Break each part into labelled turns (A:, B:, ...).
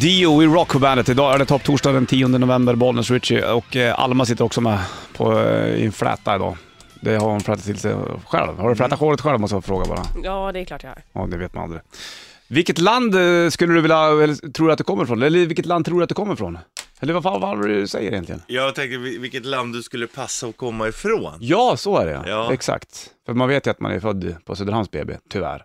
A: Dio i Rockbandet. Idag är det topptorsdag den 10 november, Bollnäs Ritchie och eh, Alma sitter också med på, eh, i en fläta idag. Det har hon flätat till sig själv. Har du flätat håret själv måste jag fråga bara.
B: Ja, det är klart jag har.
A: Ja, det vet man aldrig. Vilket land eh, skulle du vilja, eller tror du att du kommer ifrån? Eller vilket land tror du att du kommer ifrån? Eller vad fan vad var det du säger egentligen?
C: Jag tänker vil- vilket land du skulle passa att komma ifrån.
A: Ja, så är det ja.
C: Ja.
A: Exakt. För man vet ju att man är född på Söderhamns BB, tyvärr.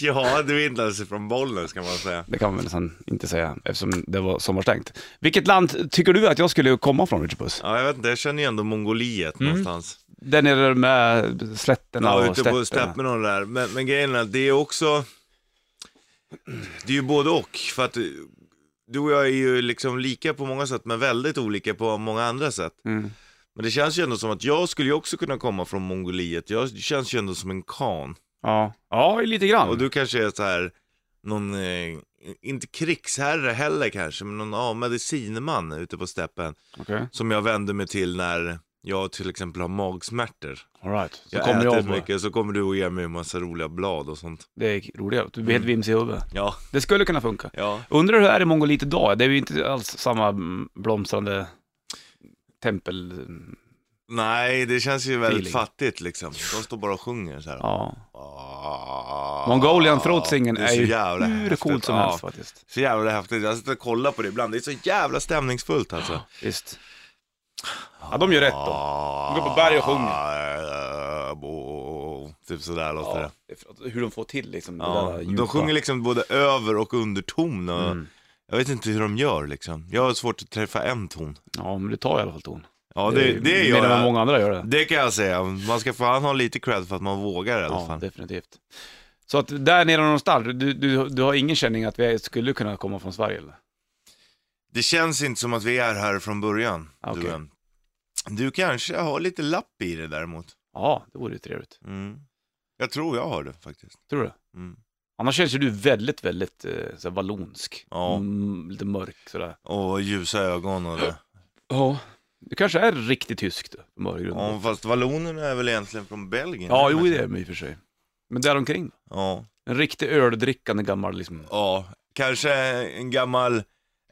C: Ja, du är inte ens från Bollnäs kan man säga.
A: Det kan man väl nästan inte säga eftersom det var sommarstängt. Vilket land tycker du att jag skulle komma från, Richard Puss?
C: Ja, jag vet inte, jag känner ju ändå Mongoliet någonstans.
A: Där nere med slätterna
C: Mm. Ja,
A: och
C: ute på
A: stäpperna.
C: steppen och det där. Men, men grejen är att det är också, det är ju både och. För att du och jag är ju liksom lika på många sätt, men väldigt olika på många andra sätt.
A: Mm.
C: Men det känns ju ändå som att jag skulle ju också kunna komma från Mongoliet. Jag känns ju ändå som en kan.
A: Ja. ja, lite grann.
C: Och du kanske är så här någon, eh, inte krigsherre heller kanske, men någon ja, medicinman ute på steppen
A: Okej.
C: som jag vänder mig till när jag till exempel har magsmärtor.
A: All right. Så
C: Jag
A: kommer
C: äter
A: jag på.
C: mycket, så kommer du och ger mig en massa roliga blad och sånt.
A: Det är roligt. Du blir helt vimsig i huvudet.
C: Ja,
A: Det skulle kunna funka.
C: ja.
A: Undrar hur det är i Mongoliet idag? Det är ju inte alls samma mm, blomstrande tempel...
C: Nej, det känns ju väldigt
A: Feeling.
C: fattigt liksom. De står bara och sjunger så här.
A: Ja.
C: Ah,
A: Mongolian throat singing
C: det
A: är ju
C: så jävla
A: hur
C: häftigt.
A: coolt som
C: Ja,
A: helst faktiskt.
C: Så jävla häftigt. Jag sitter och kollar på det ibland. Det är så jävla stämningsfullt alltså.
A: Visst. Ja, de gör rätt då. De går på berg och sjunger.
C: Ah, bo- Typ sådär låter det.
A: Hur de får till liksom
C: Ja. De sjunger liksom både över och underton. Och
A: Mm.
C: Jag vet inte hur de gör liksom. Jag har svårt att träffa en ton.
A: Ja, men du tar i alla fall ton.
C: Ja, det, det
A: Medan
C: gör
A: vad
C: jag.
A: många andra gör det.
C: Det kan jag säga. Man ska fan ha lite cred för att man vågar i alla
A: Ja,
C: fall.
A: definitivt. Så att där nere någonstans, du, du, du har ingen känning att vi skulle kunna komma från Sverige eller?
C: Det känns inte som att vi är här från början.
A: Ah, okej.
C: Du, eh, du kanske har lite lapp i det däremot.
A: Ja, det vore ju trevligt.
C: Mm. Jag tror jag har det faktiskt.
A: Tror du?
C: Mm.
A: Annars känns ju du väldigt, väldigt eh, såhär, vallonsk.
C: Ja.
A: Mm, lite mörk sådär.
C: Och ljusa ögon och det.
A: Ja. Du kanske är riktigt tysk du, mörkgrund.
C: Ja, fast vallonerna är väl egentligen från Belgien?
A: Typ. Ja,
C: eller?
A: jo det är de i och för sig. Men däromkring då?
C: Ja,
A: En riktig öldrickande gammal liksom.
C: ja. kanske en gammal,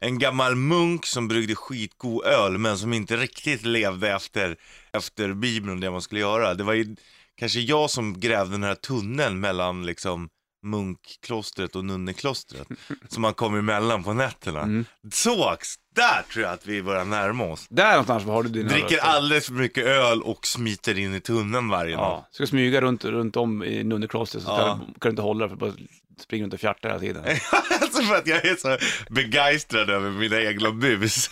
C: en gammal munk som bryggde skitgod öl men som inte riktigt levde efter, efter Bibeln och det man skulle göra. Det var ju kanske jag som grävde den här tunneln mellan liksom munkklostret och nunneklostret som man kom emellan på nätterna.
A: Mm.
C: Så, där tror jag att vi börjar närma oss.
A: Där någonstans har du dina
C: Dricker
A: rötter.
C: alldeles för mycket öl och smiter in i tunneln varje dag.
A: Ja, ska smyga runt, runt om i nunneklostret så
C: Ja.
A: kan, kan du inte hålla dig för bara springer runt och fjärtar hela tiden.
C: alltså för att jag är så begeistrad över mina egna bus.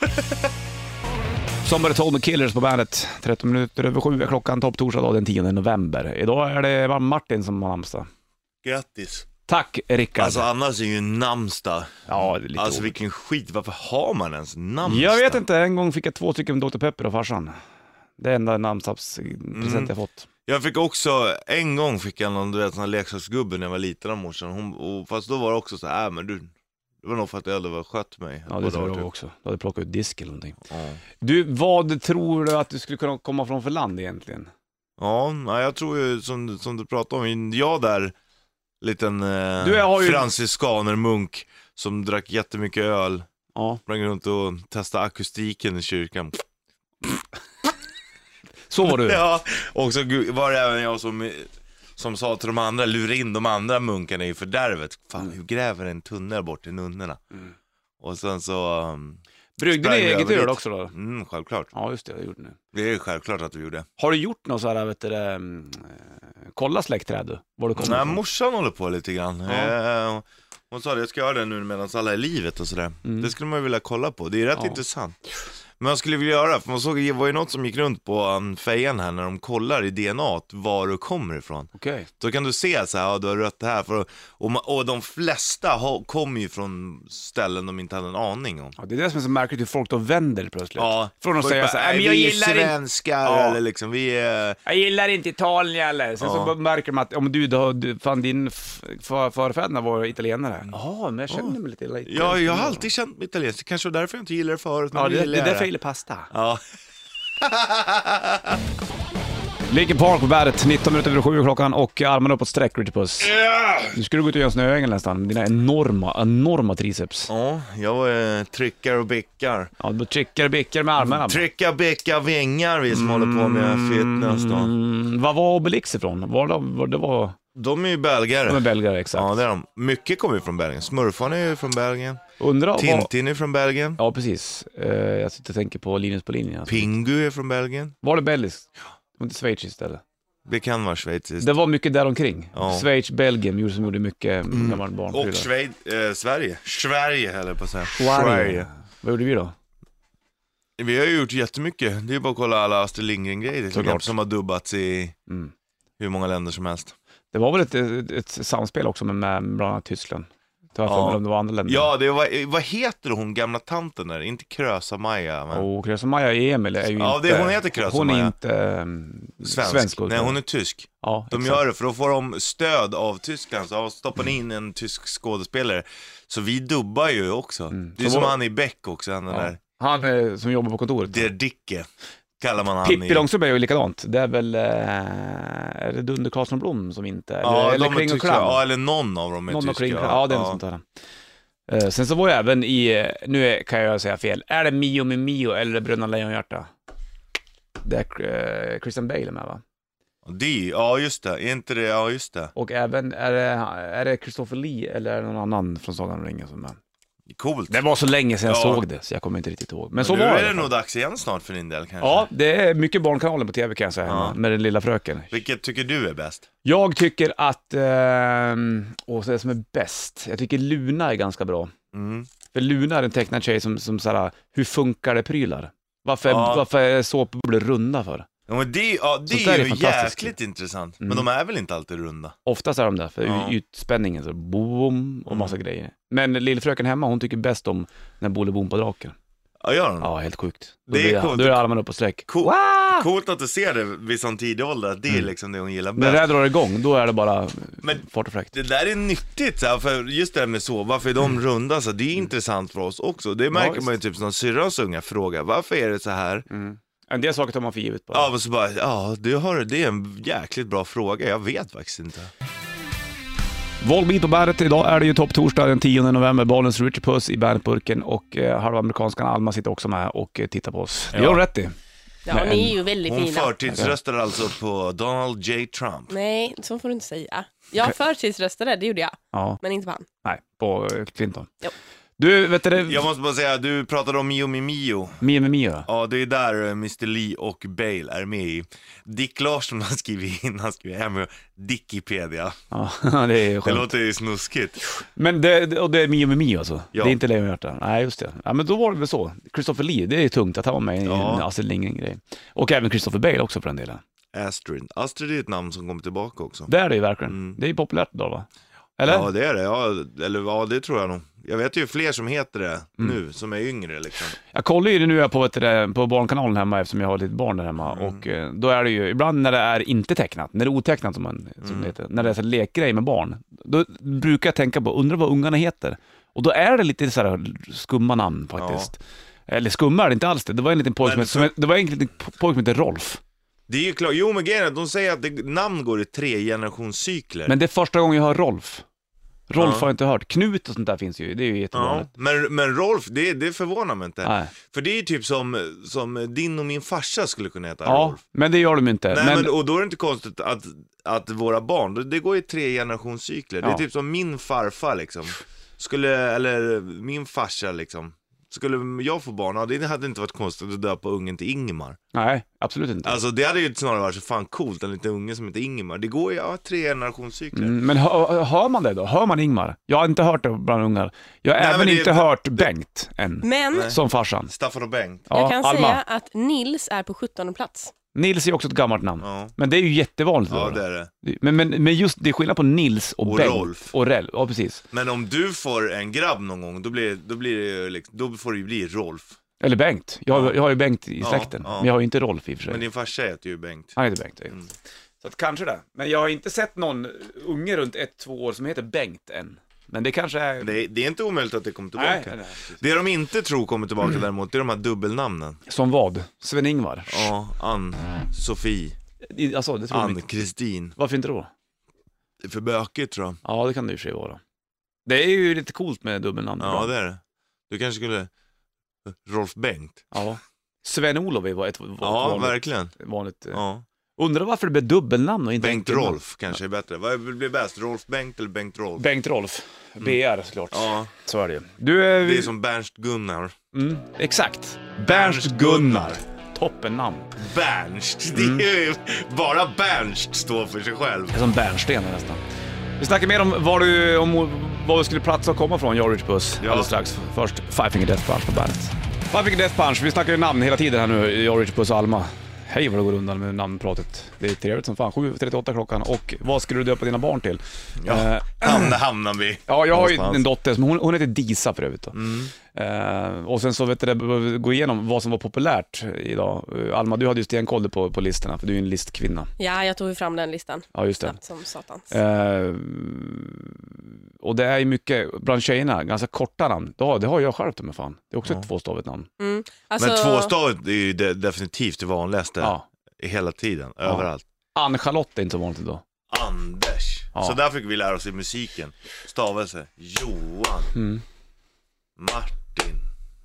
A: Somebody told me killers på bandet. 13 minuter över sju är klockan, topp torsdag dag den 10 november. Idag är det bara Martin som har namnsdag.
C: Grattis.
A: Tack Rickard!
C: Alltså annars är ju namnsdag.
A: ja, det är lite
C: Alltså
A: ord.
C: vilken skit, varför har man ens namnsdag?
A: Jag vet inte, en gång fick jag två stycken Dr Pepper av farsan. Det är enda namnsdagspresent
C: Mm.
A: jag fått.
C: Jag fick också, en gång fick jag någon, du vet, sån här leksaksgubbe när jag var liten av morsan. Hon, och, fast då var det också så här, äh, men du, det var nog för att jag aldrig var skött mig.
A: Ja, det
C: Bara
A: tror
C: typ.
A: jag också. Du hade plockat ut disk eller någonting.
C: Ja.
A: Du, vad tror du att du skulle kunna komma från för land egentligen?
C: Ja, nej, jag tror ju som, som du pratade om, jag där, liten eh,
A: Du, jag har ju-
C: franciskanermunk som drack jättemycket öl,
A: Ja.
C: sprang runt och testade akustiken i kyrkan.
A: Så var du?
C: Ja, och så gu- var det även jag som, som sa till de andra, lura in de andra munkarna i fördärvet.
A: Mm.
C: Fan, hur gräver en tunnel bort till nunnorna? Och sen så, um,
A: Bryggde ni
C: Sprang
A: eget
C: över
A: öl
C: dit.
A: också då?
C: mm, självklart.
A: Ja, just det. Jag gjorde nu.
C: Det är ju självklart att vi gjorde.
A: Har du gjort något så här, vet du, det, mm, eh, kolla släktträd du? Var du kommer
C: Nej,
A: ifrån?
C: morsan håller på lite grann. Eh, hon sa det, jag ska göra det nu medan alla är i livet och sådär. Det skulle man ju vilja kolla på, det är rätt
A: Mm. Ja.
C: intressant. Men jag skulle vilja göra, för man såg, det var ju något som gick runt på um, fejan här när de kollar i DNA var du kommer ifrån.
A: Okej.
C: Då kan du se så här, ja, du har rött här. För, och, ma- och de flesta har- kommer ju från ställen de inte hade en aning om.
A: Ja, det är det som är så märkligt hur folk då vänder det plötsligt.
C: Ja,
A: Från att
C: folk
A: säga
C: bara,
A: så här, "Nej, men
C: "Nej,
A: jag
C: vi är
A: gillar inte,
C: svenskar
A: Ja.
C: eller liksom, vi är...
A: jag gillar inte Italien heller. Sen så
C: Ja.
A: bara märker man att, om du, då, du fan din f- för, förfäderna var italienare. Ja, men jag känner mig lite italiensk.
C: Ja, jag har alltid känt mig italiensk, det kanske var därför jag inte gillade det förut, men
A: Ja,
C: nu
A: det,
C: gillar
A: det är därför jag
C: det.
A: gillar pasta.
C: Ja.
A: Linkin Park på bandet, 19 minuter över 7 klockan och armarna uppåt sträck, Richard Puss.
C: Ja!
A: Nu skulle du gå ut och göra en snöängel nästan, med dina enorma, enorma triceps.
C: Ja, jag eh, tryckar och bäckar.
A: Ja, du trickar och bickar med armarna.
C: Trycka, bäcka, vingar vi som håller på med fitness då.
A: Mm, vad var Obelix ifrån? Var de, var, det var...
C: De är ju
A: De är
C: belgare.
A: belgare, exakt.
C: Ja, det är de. Mycket kommer ju från Belgien. Smurfarna är ju från Belgien.
A: Undrar vad...
C: Tintin är från Belgien.
A: Ja, precis. Eh, jag sitter och tänker på Linus på linjen. Alltså.
C: Pingu är från Belgien.
A: Var det belgiskt? Var det Schweiz istället?
C: Det kan vara schweiziskt.
A: Det var mycket däromkring.
C: Ja. Mm.
A: Schweiz, Belgien, gjorde- som gjorde mycket när man var barnprylar.
C: Och Schweiz, eh, Sverige. Sverige höll jag på att säga.
A: Schweiz. Vad gjorde vi då?
C: Vi har ju gjort jättemycket. Det är bara att kolla alla Astrid Lindgren-grejer till
A: Såklart.
C: exempel, som har dubbats i
A: Mm.
C: hur många länder som helst.
A: Det var väl ett, ett, ett samspel också med, med bland annat Tyskland? Tar jag
C: Ja.
A: för mig om det var andra länder.
C: Ja, det var, eh, vad heter hon gamla tanten där? Inte Krösa-Maja, men
A: Och Krösa-Maja Emil är ju
C: Ja,
A: inte...
C: det- hon heter Krösa
A: Hon är
C: Maja.
A: inte ehm,
C: svensk.
A: svensk.
C: Nej, hon är tysk.
A: ja,
C: De
A: exakt.
C: gör det för då får de stöd av Tyskland, så ja, stoppar ni in en tysk skådespelare. Så vi dubbar ju också. Det är
A: Mm. Så
C: som
A: var-
C: han i Beck också, han den
A: Ja.
C: där,
A: Han eh, som jobbar på kontoret.
C: Der Dicke, kallar man han
A: Pippi
C: i...
A: Långstrump är ju likadant. Det är väl... Eh, är det Dunder Karlsson och Blom som inte är
C: Ja,
A: Eller
C: de är
A: Kling och
C: tyska.
A: Klang.
C: Ja, eller någon av dem är
A: Någon
C: tyska.
A: och Kling och Klang. Ja, det är typ. något sånt där. Eh, sen så var jag även i... eh, Nu är, kan jag säga fel. Är det Mio med Mio eller Bröderna Lejonhjärta? Det är eh, Christian Bale med va?
C: De, ja just det, är inte det, ja just det.
A: Och även, är det, är det Christopher Lee eller är det någon annan från Sagan om ringen som är med?
C: Coolt.
A: Det var så länge sedan jag
C: Ja.
A: såg det, så jag kommer inte riktigt ihåg. Men så
C: nu
A: var
C: är
A: det.
C: det nog dags igen snart för din del kanske.
A: Ja, det är mycket Barnkanalen på tv kan jag säga,
C: Ja.
A: hemma, med den lilla fröken.
C: Vilket tycker du är bäst?
A: Jag tycker att, ehm, åh, så det som är bäst, jag tycker Luna är ganska bra.
C: Mm.
A: För Luna är en tecknad tjej som, som såhär, hur funkar det prylar? Varför,
C: Ja.
A: varför är såpbubblor runda för?
C: Ja, men det, ja, det
A: Sånt där
C: är
A: är
C: ju
A: fantastiskt.
C: jäkligt intressant.
A: Mm.
C: Men de är väl inte alltid runda?
A: Oftast är de där för
C: Ja.
A: utspänningen, så boom och massa
C: Mm.
A: grejer. Men lillfröken hemma, hon tycker bäst om när Bolibompa-draken.
C: Ja, gör de?
A: Ja, helt sjukt. Då,
C: Det är
A: blir jag-
C: coolt.
A: då är armarna upp och sträck.
C: Cool.
A: Wow!
C: Coolt att du ser det vid sån tidig ålder, att det
A: Mm.
C: är liksom det hon gillar
A: När
C: bäst.
A: det här drar igång, då är det bara
C: Men-
A: fart och fläkt.
C: Det där är nyttigt, så här, för just det här med så, varför är de runda? Så här, det är intressant för oss också. Det märker
A: Mm. visst.
C: man ju typ som syrrans unga frågar, varför är det så här?
A: Mm. En del saker tar man för givet bara.
C: Ja, men så bara, ja, du har, det är en jäkligt bra fråga, jag vet faktiskt inte.
A: Volbeat på bandet. Idag är det ju topptorsdag den 10 november. Bollens Richard Puss i bandetburken och eh, halva amerikanskan Alma sitter också med och eh, tittar på oss. Det gör hon rätt i.
B: Ja,
A: Men-
B: ni är ju väldigt
C: Hon
B: fina.
C: förtidsröstar alltså på Donald J. Trump.
B: Nej, så får du inte säga. Jag förtidsröstade, det gjorde jag.
A: Ja,
B: Men inte på han.
A: nej, på eh, Clinton.
B: Jo.
A: Du, vet du det?
C: Jag måste bara säga, du pratade om Mio Mio Mio.
A: Mio med Mio.
C: Ja, det är där eh, Mr Lee och Bale är med i. Dick Larsson har skrivit in, han skriver hem Dickipedia.
A: Ja, det är
C: Det
A: skönt.
C: låter ju snuskigt.
A: Men det, det- och det är Mio med Mio alltså?
C: Ja.
A: Det är inte Lejonhjärta? Nej, just det. Ja, men då var det väl så. Christopher Lee, det är ju tungt att han var med i
C: Ja.
A: en Astrid Lindgren-grej. Och även Christopher Bale också för den delen.
C: Astrid. Astrid är ett namn som kommer tillbaka också.
A: Det är det ju verkligen.
C: Mm.
A: Det är ju populärt idag va? Eller?
C: Ja, det är det. Ja, eller ja, det tror jag nog. Jag vet ju fler som heter det
A: Mm.
C: nu, som är yngre liksom.
A: Jag kollar ju det nu på, vet du det, på Barnkanalen hemma eftersom jag har lite barn där hemma
C: Mm.
A: och eh, då är det ju, ibland när det är inte tecknat, när det är otecknat som, man, som
C: Mm.
A: det heter, när det är så här lekgrej med barn, då brukar jag tänka på, undrar vad ungarna heter? Och då är det lite så här skumma namn faktiskt. Eller skumma är det inte alls det, det var en liten pojke som,
C: Men
A: hette- som, hette- det var en liten pojke som hette Rolf.
C: Det är ju klart, jo men grejen är att de säger att det, namn går i tre generationscykler.
A: Men det är första gången jag hör Rolf. Rolf
C: Ja.
A: har jag inte hört. Knut och sånt där finns ju, det är ju
C: ja.
A: jättevanligt.
C: men, men Rolf, det, det förvånar mig inte.
A: Nej.
C: För det är ju typ som, som din och min farsa skulle kunna heta
A: Ja,
C: Rolf.
A: men det gör de inte.
C: Nej, men... och då är det inte konstigt att, att våra barn, det, det går i tre generationscykler. Det
A: Ja.
C: är typ som min farfar liksom. Skulle, eller min farsa liksom. Skulle jag få barn, ja, det hade inte varit konstigt att döpa ungen till Ingemar.
A: nej absolut inte.
C: Alltså det hade ju snarare varit så fan coolt, en liten unge som heter Ingemar. Det går ju, ja, tre generationscykler.
A: Mm, men hör, hör man det då? Hör man Ingmar? Jag har inte hört det bland ungar. Jag har
C: Nej,
A: även
C: men det-
A: inte hört Bengt än,
B: Men
A: som farsan.
C: Staffan och Bengt.
A: Ja,
B: jag kan
A: Alma.
B: säga att Nils är på 17 plats.
A: Nils är också ett gammalt namn.
C: Ja.
A: Men det är ju jättevanligt.
C: ja,
A: då.
C: det är det.
A: men, men, men just det är skillnad på Nils och,
C: Och
A: Bengt.
C: Rolf.
A: Och Rel. Ja, precis.
C: Men om du får en grabb någon gång, då blir, då blir det ju liksom, då får det ju bli Rolf.
A: Eller Bengt. Jag, har- jag har ju Bengt i
C: Ja,
A: släkten.
C: ja.
A: Men jag har ju inte Rolf i och för sig.
C: Men din farsa heter ju Bengt.
A: Han heter Bengt.
C: Mm.
A: Så att kanske det. Men jag har inte sett någon unge runt ett, två år som heter Bengt än. Men det kanske är...
C: Det, det är inte omöjligt att det kommer tillbaka.
A: Nej, nej, nej, precis.
C: Det de inte tror kommer tillbaka däremot, det är de här dubbelnamnen.
A: Som vad? Sven-Ingvar?
C: Ja, Ann, Sofie.
A: I- Alltså, det tror jag inte.
C: Ann-Kristin.
A: Varför inte då?
C: Det är för bökigt tror jag.
A: Ja, det kan det i och för sig vara. Det är ju lite coolt med dubbelnamn.
C: Ja, det är det. Du kanske skulle... Rolf Bengt.
A: ja. Sven-Olof var ett va-
C: Ja,
A: vanligt.
C: verkligen.
A: vanligt eh.
C: Ja.
A: Undrar varför det blev dubbelnamn och inte
C: Bengt
A: enkelnamn.
C: Rolf kanske är bättre. Vad blir bäst? Rolf Bengt eller Bengt Rolf?
A: Bengt Rolf. BR såklart.
C: Mm. Ja,
A: Så är det ju. Du, är...
C: det är som Bernst Gunnar.
A: mm, exakt.
C: Bernst Gunnar.
A: Toppennamn.
C: Bernst, det är ju... Bara Bernst står för sig själv.
A: Det är som bärnsten nästan. Vi snackar mer om var du, om, var du skulle platsa och komma från, jag och Rich Puss,
C: Ja.
A: alldeles strax. Först Five Finger Death Punch på bandet. Five Finger Death Punch, vi snackar ju namn hela tiden här nu, jag och Rich Puss och Alma. Hej vad det går undan med namnpratet. Det är trevligt som fan. 7.38 klockan och vad skulle du döpa dina barn till?
C: Ja.
A: Eh,
C: Hamnar, hamnar vi.
A: Ja, jag har ju
C: Någonstans. Mm.
A: en dotter, som, hon, hon heter Disa för övrigt. Då. Eh, och sen så vet du, det, behöver vi gå igenom vad som var populärt idag. Eh, Alma, du hade ju stenkoll på, på listorna, för du är ju en listkvinna.
B: Ja, jag tog ju fram den listan.
A: Ja, just det.
B: Snabbt som satan.
A: Eh, och det är ju mycket, bland tjejerna, ganska korta namn. Ja, det har jag själv till mig fan. Det är också ett tvåstavigt namn.
B: Mm. Alltså,
C: Men tvåstavet är ju de- definitivt det vanligaste.
A: Ja.
C: Hela tiden, överallt.
A: Ann-Charlotte är inte så vanligt idag.
C: Anders.
A: Ja.
C: Så där fick vi lära oss i musiken. Stavelse. Johan. Martin.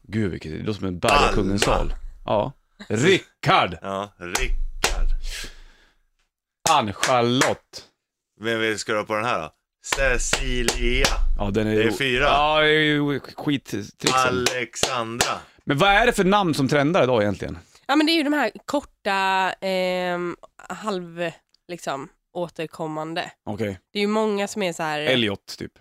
A: Gud, vilket, det låter som en berg av kungens
C: Alma.
A: sal. Ja. Rickard!
C: Ja, Rickard.
A: Ann-Charlotte.
C: Vem vill ska du ha på den här då? Cecilia.
A: Ja, den är,
C: Det är fyra.
A: Ja, det är ju
C: Liksom.
A: skittricksen.
C: Alexandra.
A: Men vad är det för namn som trendar idag egentligen?
B: ja, men det är ju de här korta, ehm, halv, liksom, återkommande.
A: Okej.
B: Det är ju många som är så här...
A: Elliot, typ.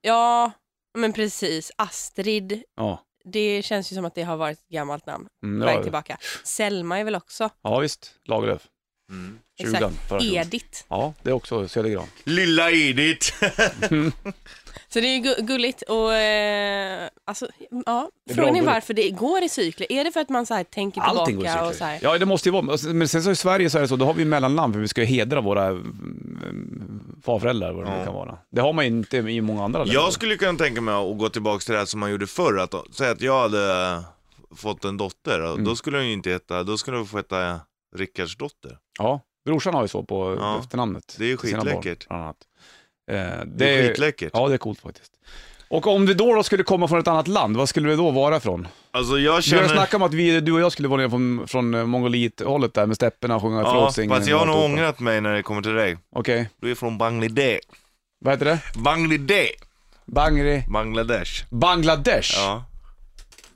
B: Ja, men precis. Astrid.
A: Ja.
B: Det känns ju som att det har varit ett gammalt namn. På
A: Mm,
B: väg
A: ja,
B: tillbaka. Selma är väl också.
A: ja, visst. Lagerlöf.
C: Mm.
A: Tjugan. förra tjugan.
B: Edith.
A: Ja, det är också Södergran.
C: Lilla Edith.
B: Så det är ju gu- gulligt och eh, alltså, ja.
A: Det är
B: Frågan är
A: bra,
B: varför det går i cykler. Är det för att man så här tänker
A: Allting går i
B: tillbaka
A: cykler.
B: och så här?
A: Ja, det måste ju vara. Och sen- Men sen så i Sverige så är det så, då har vi ju mellanland för vi ska ju hedra våra mm, farföräldrar, vad det nu
C: Ja.
A: kan vara. Det har man ju inte i många andra länder.
C: Jag skulle kunna tänka mig att gå tillbaka till det här som man gjorde förr. Att säga att jag hade fått en dotter.
A: Mm.
C: och Då skulle hon ju inte heta, då skulle hon få heta Rickards dotter.
A: Ja, brorsan har ju så på
C: Ja.
A: efternamnet.
C: Det är ju
A: till sina
C: skitläckert.
A: Barn, bland annat. Eh,
C: Det är, skitläckert.
A: Ja, det är coolt faktiskt. Och om du då, då skulle komma från ett annat land, vad skulle det då vara från?
C: Alltså jag
A: Vi har ju
C: känner...
A: snackat om att vi, du och jag skulle vara ner från, från eh, mongoliet-hållet där med stepperna och sjunga
C: Ja,
A: Frosing.
C: fast jag har nog ångrat mig när det kommer till dig.
A: Okej,
C: Du är från Bangladesh.
A: vad heter det?
C: Bangladesh.
A: Bangri...
C: Bangladesh.
A: Bangladesh?
C: Ja.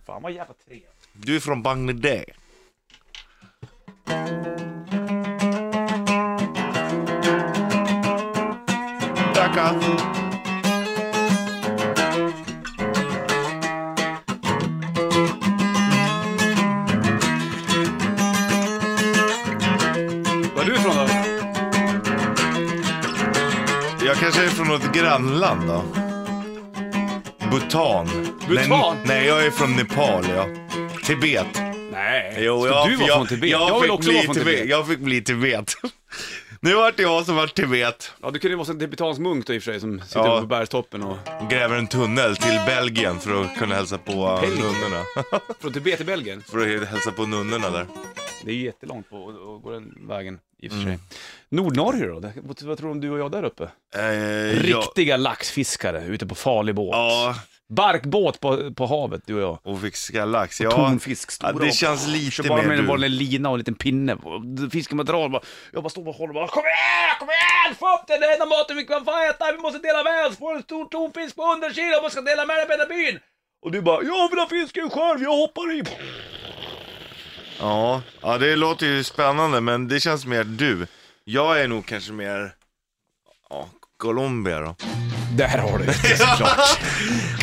A: Fan vad jävla trevligt.
C: Du är från Bangladesh. Tackar.
A: Var är du ifrån då?
C: Jag kanske är från något grannland då. Bhutan.
A: Bhutan?
C: Nej, nej, jag är från Nepal ja. Tibet.
A: Nej,
C: Jo,
A: ska
C: jag,
A: du vara
C: jag,
A: från Tibet?
C: Jag,
A: Jag, vill
C: fick
A: också
C: bli
A: vara från Tibet.
C: Jag fick bli Tibet. nu vart det jag som vart Tibet.
A: Ja, du kunde ju vara en tibetansk munk då i och för sig som sitter
C: Ja.
A: uppe på bergstoppen och...
C: Gräver en tunnel till Belgien för att kunna hälsa på
A: Belgien?
C: nunnorna.
A: Från Tibet till Belgien?
C: för att hälsa på nunnorna där.
A: Det är ju jättelångt på och, och går den vägen i och för sig. Mm. Nordnorge då? Det- Vad vad tror du om du och jag där uppe?
C: Eh, Ja,
A: Riktiga laxfiskare ute på farlig båt.
C: ja,
A: Barkbåt på, på havet, du och jag.
C: och fiska lax.
A: Ja.
C: Ja,
A: Tonfisk,
C: ja,
A: stora
C: det känns lite
A: Så bara med en,
C: mer
A: bara
C: du.
A: en lina och en liten pinne. Fisken bara drar. Bara, jag bara står och håller bara. Kom igen, kom igen! Få upp den! Det är enda maten vi kan få äta. Vi måste dela med oss. Får en stor tonfisk på 100 kilo och man ska dela med den på hela byn. Och du bara, jag vill ha fisk i en skärv, jag hoppar i.
C: Ja, ja, det låter ju spännande men det känns mer du. Jag är nog kanske mer, ja, Colombia då.
A: Där har du det såklart.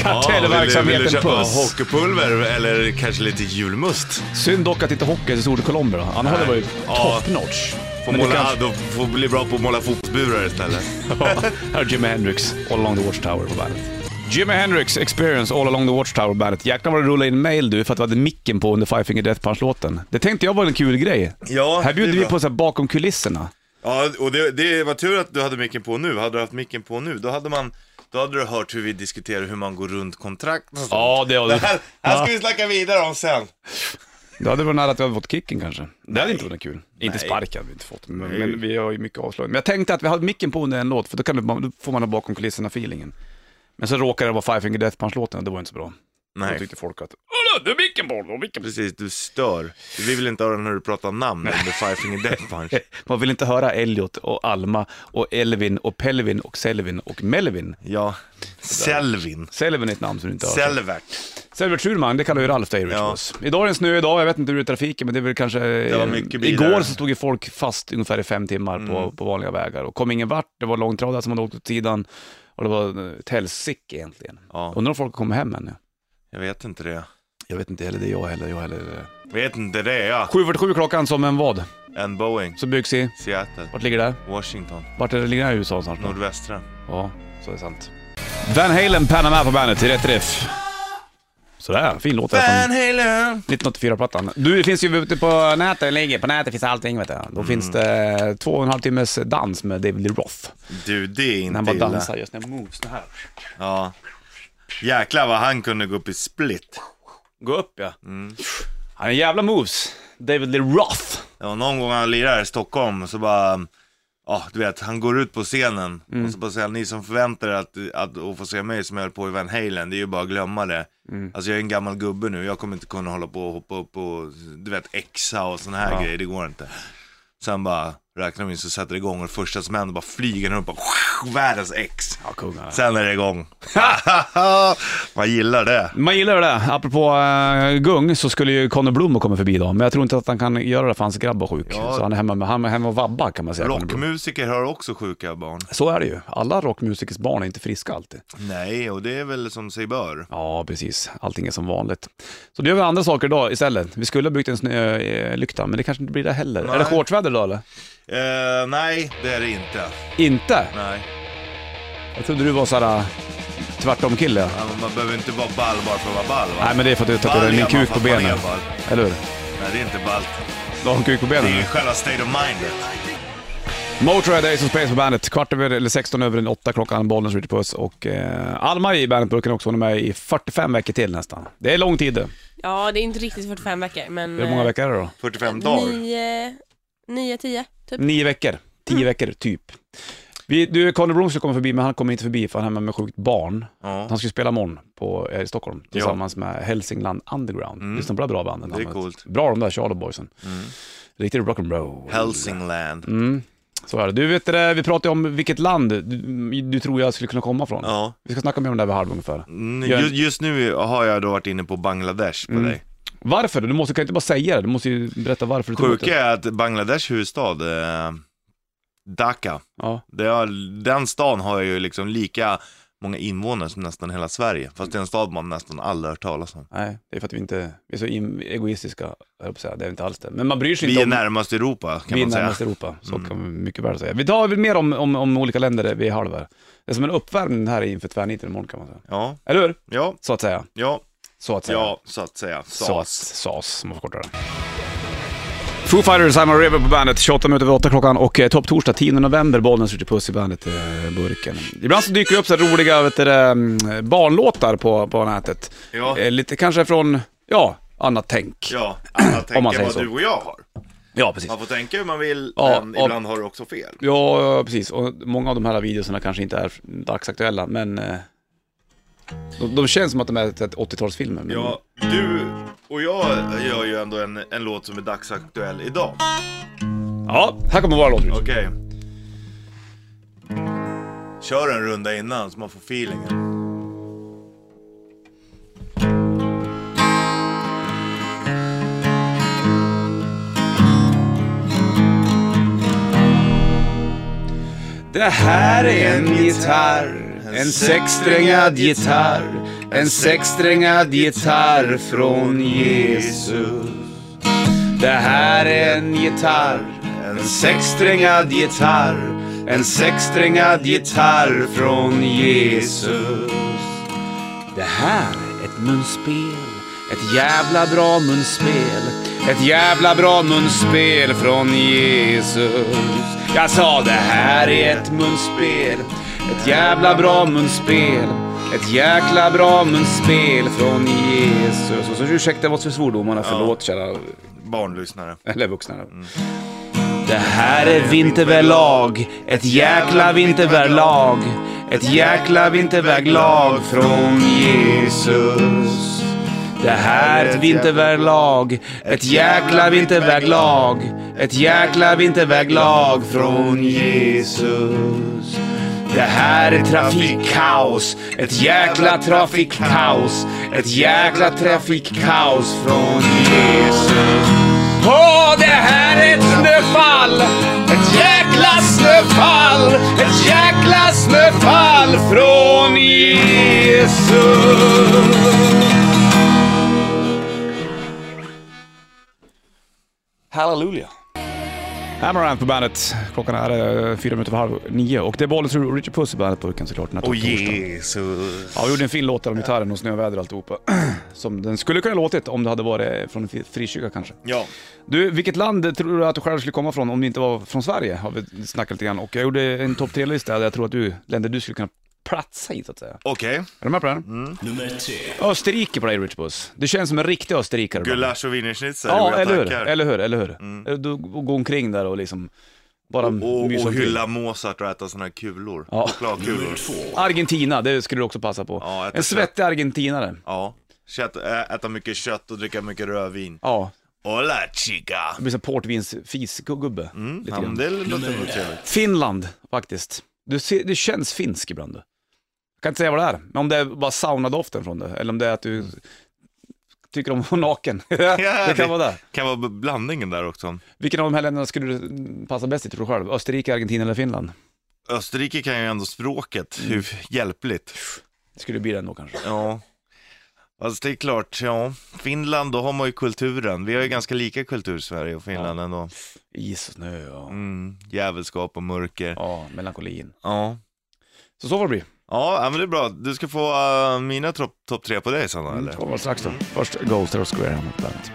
A: Kartellverksamheten
C: vill du, vill du köpa
A: puss.
C: hockeypulver eller kanske lite julmust?
A: Synd dock att inte hockey är så stor i Colombia. då. Annars hade det varit
C: Ja.
A: top notch.
C: Får
A: Men det
C: måla,
A: kanske-
C: Då får bli bra på att måla fotbollsburar istället.
A: Här är Jimi Hendrix, All Along the Watchtower på bandet. Jimi Hendrix Experience All Along the Watchtower på bandet. Jäklar vad det rullade in mail du för att du hade micken på under Five Finger Death Punch-låten. Det tänkte jag var en kul grej.
C: Ja,
A: Här bjuder
C: det
A: vi
C: är bra.
A: på så här bakom kulisserna.
C: Ja, och det, det var tur att du hade micken på nu. Hade du haft micken på nu, då hade man då hade du hört hur vi diskuterar hur man går runt kontrakt och sånt.
A: det har
C: Det här, här ska vi snacka vidare om sen.
A: Då hade det varit nära att vi hade fått kicken kanske. Det hade
C: Nej.
A: inte varit kul. Inte
C: Nej.
A: spark hade vi inte fått, men,
C: Nej.
A: men vi har ju mycket avslag. Men jag tänkte att vi hade micken på under en låt, för då, kan det, bara- då får man ha bakom kulisserna-feelingen. Men så råkade det vara Five Finger Death Punch-låten och det var inte så bra. Då
C: Nej,
A: tyckte folk att "Åh, du är micken på, du har micken på.
C: precis. Du stör. Vi vill inte höra när du pratar namn under Five Finger Death Punch.
A: Man vill inte höra Elliot och Alma och Elvin och Pelvin och Selvin och Melvin.
C: Ja. Selvin.
A: Selvin är ett namn som du inte har hört.
C: Selvert.
A: Selvert Schulman, det kallar ju Ralf dig
C: Ja.
A: ja. Idag är det en snö idag, jag vet inte hur det är i trafiken men det är väl kanske...
C: var mycket bilar.
A: Igår så stod ju folk fast ungefär i fem timmar på, på vanliga vägar och kom ingen vart. Det var långtradare som hade åkt åt sidan och det var eh, ett helsike egentligen.
C: Ja,
A: Undrar om folk kommer hem ännu?
C: jag vet inte det.
A: Jag vet inte heller, det är jag heller, jag heller.
C: Vet inte det, ja.
A: 7.47 klockan som en vad?
C: En Boeing.
A: Så byggs i,
C: Seattle.
A: vart ligger det?
C: Washington.
A: Vart är det ligger det i USA någonstans? då?
C: Nordvästra.
A: Ja, så är det sant. Van Halen, Panama på bandet, i rätt riff. Sådär, fin låt. där från-
C: Van Halen!
A: 1984-plattan. Du, det finns ju ute på nätet, eller ligger på nätet finns allting vet du.
C: Mm.
A: Då finns det två och en halv timmes dans med David Lee Roth.
C: Du, det är
A: När han
C: inte
A: bara
C: illa.
A: dansar just när moves här.
C: Ja. Jäklar vad han kunde gå upp i split.
A: Gå upp ja.
C: Mm.
A: Han är en jävla moves. David Lee Roth.
C: Ja, någon gång han lirar här i Stockholm så bara, ja du vet, han går ut på scenen och så bara säger han, ni som förväntar er att, att, att få se mig som jag höll på i Van Halen, det är ju bara att glömma det. Alltså jag är en gammal gubbe nu, jag kommer inte kunna hålla på och hoppa upp och du vet, exa och såna här grejer, det går inte. Sen bara räknar de in så sätter det igång och det första som händer bara flyger han upp och världens ex.
A: Ja, kungar.
C: Sen är det igång. Man gillar det.
A: Man gillar ju det. Apropå eh, gung så skulle ju Conor Blom komma förbi idag, men jag tror inte att han kan göra det för hans grabb var sjuk.
C: Ja.
A: Så han är hemma, med, han är hemma och vabbar kan man säga. Conor Blom.
C: Rockmusiker har också sjuka barn.
A: Så är det ju. Alla rockmusikers barn är inte friska alltid.
C: Nej, och det är väl som sig bör.
A: Ja, precis. Allting är som vanligt. Så det gör vi andra saker idag istället. Vi skulle ha byggt en snölykta, men det kanske inte blir det heller.
C: Nej.
A: Är det shortsväder idag eller?
C: Eh, nej, det är det inte.
A: Inte?
C: Nej,
A: Jag trodde du var eh, såhär tvärtom-kille.
C: Ja, men man behöver inte vara ball bara för att vara ball va?
A: Nej, men det är för att du tatuerade
C: Ball
A: min
C: är man
A: kuk på
C: för att man är
A: benen.
C: ball.
A: Eller hur?
C: Nej, det är inte ballt.
A: Du har en kuk på
C: Det
A: benen?
C: är ju
A: nu.
C: själva state of mindet.
A: Motörhead, Ace of Space på bandet. Kvart över, eller 16 över den åtta klockan, Bollnäs Ritchie Puss och eh, Alma i bandetburken också. Hon är med i 45 veckor till nästan. Det är lång tid det.
B: Ja, det är inte riktigt 45 veckor, men... eh,
A: Hur många veckor är det då?
C: 45 dagar.
B: Nio, nio, tio, typ.
A: Nio veckor. Tio veckor, typ. Vi, du, Conor Blom skulle komma förbi, men han kommer inte förbi för han är hemma med sjukt barn.
C: Ja,
A: Han ska ju spela imorgon på, eh, i Stockholm tillsammans med Hälsingland Underground.
C: Mm.
A: Lyssna på det bra bandet.
C: Det är coolt. Mm.
A: Bra de där Charlie Boysen. Riktigt rock'n'roll.
C: Helsingland.
A: Mm. Så är det. Du vet det, där, vi pratade ju om vilket land du, du tror jag skulle kunna komma från.
C: Ja.
A: Vi ska snacka mer om det här vid halv ungefär.
C: Mm,
A: Gör-
C: Just, just nu har jag då varit inne på Bangladesh
A: Mm.
C: på dig.
A: Varför? Du måste, kan inte bara säga det, du måste ju berätta varför du tror att det.
C: Sjuka är att Bangladesh huvudstad, eh, Dhaka,
A: Ja.
C: det har, den stan har ju liksom lika många invånare som nästan hela Sverige. Fast det är en stad man nästan aldrig hört talas om.
A: Nej, det är för att vi inte, vi är så in, egoistiska, jag höll på att säga, det är inte alls det. Men man bryr sig
C: Vi
A: inte
C: är
A: om...
C: närmast Europa kan
A: vi är
C: man säga. Mm.
A: närmast Europa, så kan man mycket väl säga. Vi tar väl mer om, om, om olika länder vid halv här. Det är som en uppvärmning här inför tvärniten imorgon kan man säga.
C: Ja,
A: Eller hur?
C: ja,
A: Så att säga.
C: ja,
A: Så att säga.
C: ja, så att säga.
A: Så att,
C: SAS.
A: SAS, om man får korta det. Foo Fighters, I'm a River på bandet, 28 minuter över 8 klockan och eh, topp torsdag 10 november, Bollnäs skjuter puss i bandet, eh, burken. Ibland så dyker det upp så här roliga vet du, det, mm, barnlåtar på, på nätet.
C: Ja.
A: Eh, lite kanske från, ja, annat tänk.
C: Ja, alla tänker
A: man säger
C: vad
A: så.
C: du och jag har.
A: Ja, precis.
C: Man får tänka hur man vill,
A: Ja,
C: men
A: ja.
C: ibland har du också fel.
A: Ja, ja, precis. Och många av de här videorna kanske inte är dagsaktuella, men eh, de, de känns som att de är ett- ett 80-talsfilmer. men-
C: Ja, du och jag gör ju ändå en, en låt som är dagsaktuell idag.
A: ja, här kommer våra låtar.
C: Okej. Kör en runda innan så man får feelingen.
A: Det här är en gitarr, en sexsträngad gitarr, en sexsträngad gitarr från Jesus. Det här är en gitarr, en sexsträngad gitarr, en sexsträngad gitarr från Jesus. Det här är ett munspel, ett jävla bra munspel, ett jävla bra munspel från Jesus. Jag sa det här är ett munspel, Ett jävla bra munspel, ett jäkla bra munspel från Jesus. Och så ursäkta vad för svordomarna, förlåt kära,
C: Barnlyssnare.
A: eller vuxna. Det här är vinterväglag, ett jäkla vinterväglag, ett jäkla vinterväglag från Jesus. Det här är ett vinterväglag, ett jäkla vinterväglag, ett jäkla vinterväglag från Jesus. Det här är trafikkaos, ett jäkla trafikkaos, ett jäkla trafikkaos från Jesus. Åh, det här är ett snöfall! Ett jäkla snöfall! Ett jäkla snöfall från Jesus! Halleluja! Amaranth på bandet. Klockan är eh, fyra minuter över halv nio och det är Bollnäs och Richard Puss i bandet på Pucken såklart. den här
C: Och
A: torsdagen.
C: Jesus.
A: Ja, vi gjorde en fin låt där om gitarren och snöväder och alltihopa. Som den skulle kunna låtit om det hade varit från en fri- frikyrka kanske.
C: Ja.
A: Du, vilket land tror du att du själv skulle komma från om du inte var från Sverige? Har vi snackat lite grann. Och jag gjorde en topp tre-lista där jag tror att du, länder du skulle kunna platsa i så att säga.
C: Okej.
A: Är du med på den?
C: Mm.
D: Nummer tre.
A: Österrike på dig Rich Buss. Du känns som en riktig österrikare.
C: Gulasch och wienerschnitzel.
A: Ja,
C: jag
A: eller hur?
C: tackar.
A: Eller hur? Eller hur? Eh, Du går omkring där och liksom bara
C: Mm. Och,
A: myser
C: och
A: omkring.
C: hylla Mozart och äta såna här kulor.
A: Ja.
C: Chokladkulor.
A: Argentina, det skulle du också passa på.
C: Ja, jag
A: en
C: tycker
A: svettig argentinare.
C: Ja. Kött, ä- äta mycket kött och dricka mycket rödvin.
A: Ja,
C: Hola chica!
A: det blir som portvinsfisgubbe.
C: Mm,
A: Lite
C: ja,
A: grann.
C: men det låter nog trevligt.
A: Finland, faktiskt. Du, ser, du känns finsk ibland. du. Jag kan inte säga vad det är, men om det är bara saunadoften från det, eller om det är att du tycker om att vara naken. det kan vara det.
C: Kan vara b- blandningen där också.
A: Vilken av de här länderna skulle du passa bäst i tror du själv? Österrike, Argentina eller Finland?
C: Österrike kan ju ändå språket,
A: Mm.
C: hur hjälpligt.
A: Det skulle bli den då kanske.
C: Ja. Alltså det är klart, ja. Finland, då har man ju kulturen. Vi har ju ganska lika kultur, Sverige och Finland ändå.
A: Is och snö och
C: Mm, djävulskap och mörker.
A: ja, melankolin.
C: Ja.
A: Så så får det bli.
C: Ja, ja men det är bra. Du ska få äh, mina topp top tre på dig sen då, eller?
A: Mm, Det kommer strax då. Först Ghost och Square Hammer på bandet.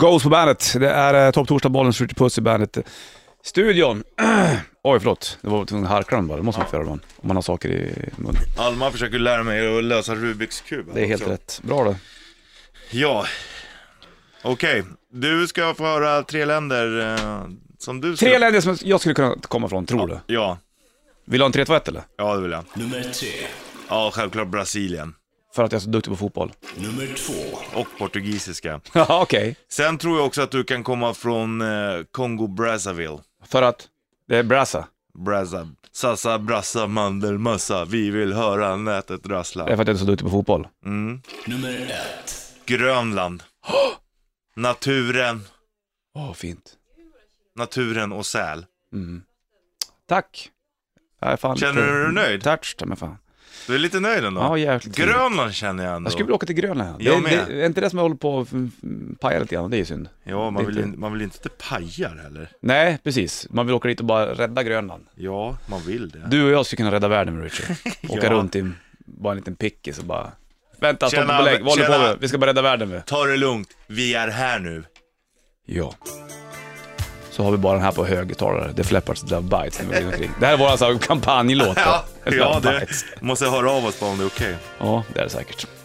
A: Ghost på bandet. Det är eh, Topp Torsdag, bollen skjuter puss i bandet. Studion. Oj, förlåt. Det var tvungen att harkla den bara. Det måste man få göra ibland. Om man har saker i munnen.
C: Alma försöker lära mig att lösa Rubiks kub. här
A: Det är helt
C: också.
A: rätt. Bra då.
C: Ja. Okej, du ska få höra tre länder eh, som du
A: Tre
C: skulle-
A: länder som jag skulle kunna komma från, tror du?
C: Ja,
A: Vill du ha en tretvätt eller?
C: ja det vill jag.
D: Nummer tre.
C: Ja, självklart Brasilien.
A: För att jag är så duktig på fotboll.
D: Nummer två.
C: Och portugisiska.
A: Ja, okej.
C: Sen tror jag också att du kan komma från eh, Kongo Brazzaville.
A: För att det är brassa.
C: Brazza, sassa, brassa, mandelmössa. Vi vill höra nätet
A: Det är
C: rassla.
A: för att jag är så duktig på fotboll.
C: Mm.
D: Nummer ett.
C: Grönland. Naturen,
A: Åh, fint.
C: naturen och säl.
A: Mm. Tack. Jag är fan
C: Känner
A: lite
C: du dig nöjd?
A: touched, men fan.
C: Du är lite nöjd ändå?
A: Ja, jäkligt.
C: Grönland känner jag ändå.
A: Jag skulle vilja åka till Grönland. Det,
C: Jag med.
A: det, är inte det som jag håller på att mm, mm, paja lite grann? Det är ju synd.
C: Ja,
A: Det är
C: man vill,
A: inte-
C: in- man vill inte paja det heller.
A: Nej, precis. Man vill åka dit och bara rädda Grönland.
C: Ja, man vill det.
A: Du och jag skulle kunna rädda världen med Richard. Åka
C: Ja.
A: runt i en- bara en liten pickis och bara... Vänta, stoppa
C: Tjena,
A: på lägg. Vad håller du på
C: tjena.
A: med? Vi ska bara rädda världen med.
C: Ta det lugnt, vi är här nu.
A: Ja. Så har vi bara den här på högtalare. The Flappards Love Bites. när vi går omkring. Det här är vår alltså, kampanjlåt. då.
C: Ja,
A: Love
C: ja det
A: Bites.
C: måste jag höra av oss bara om det är okej.
A: ja, det är det säkert.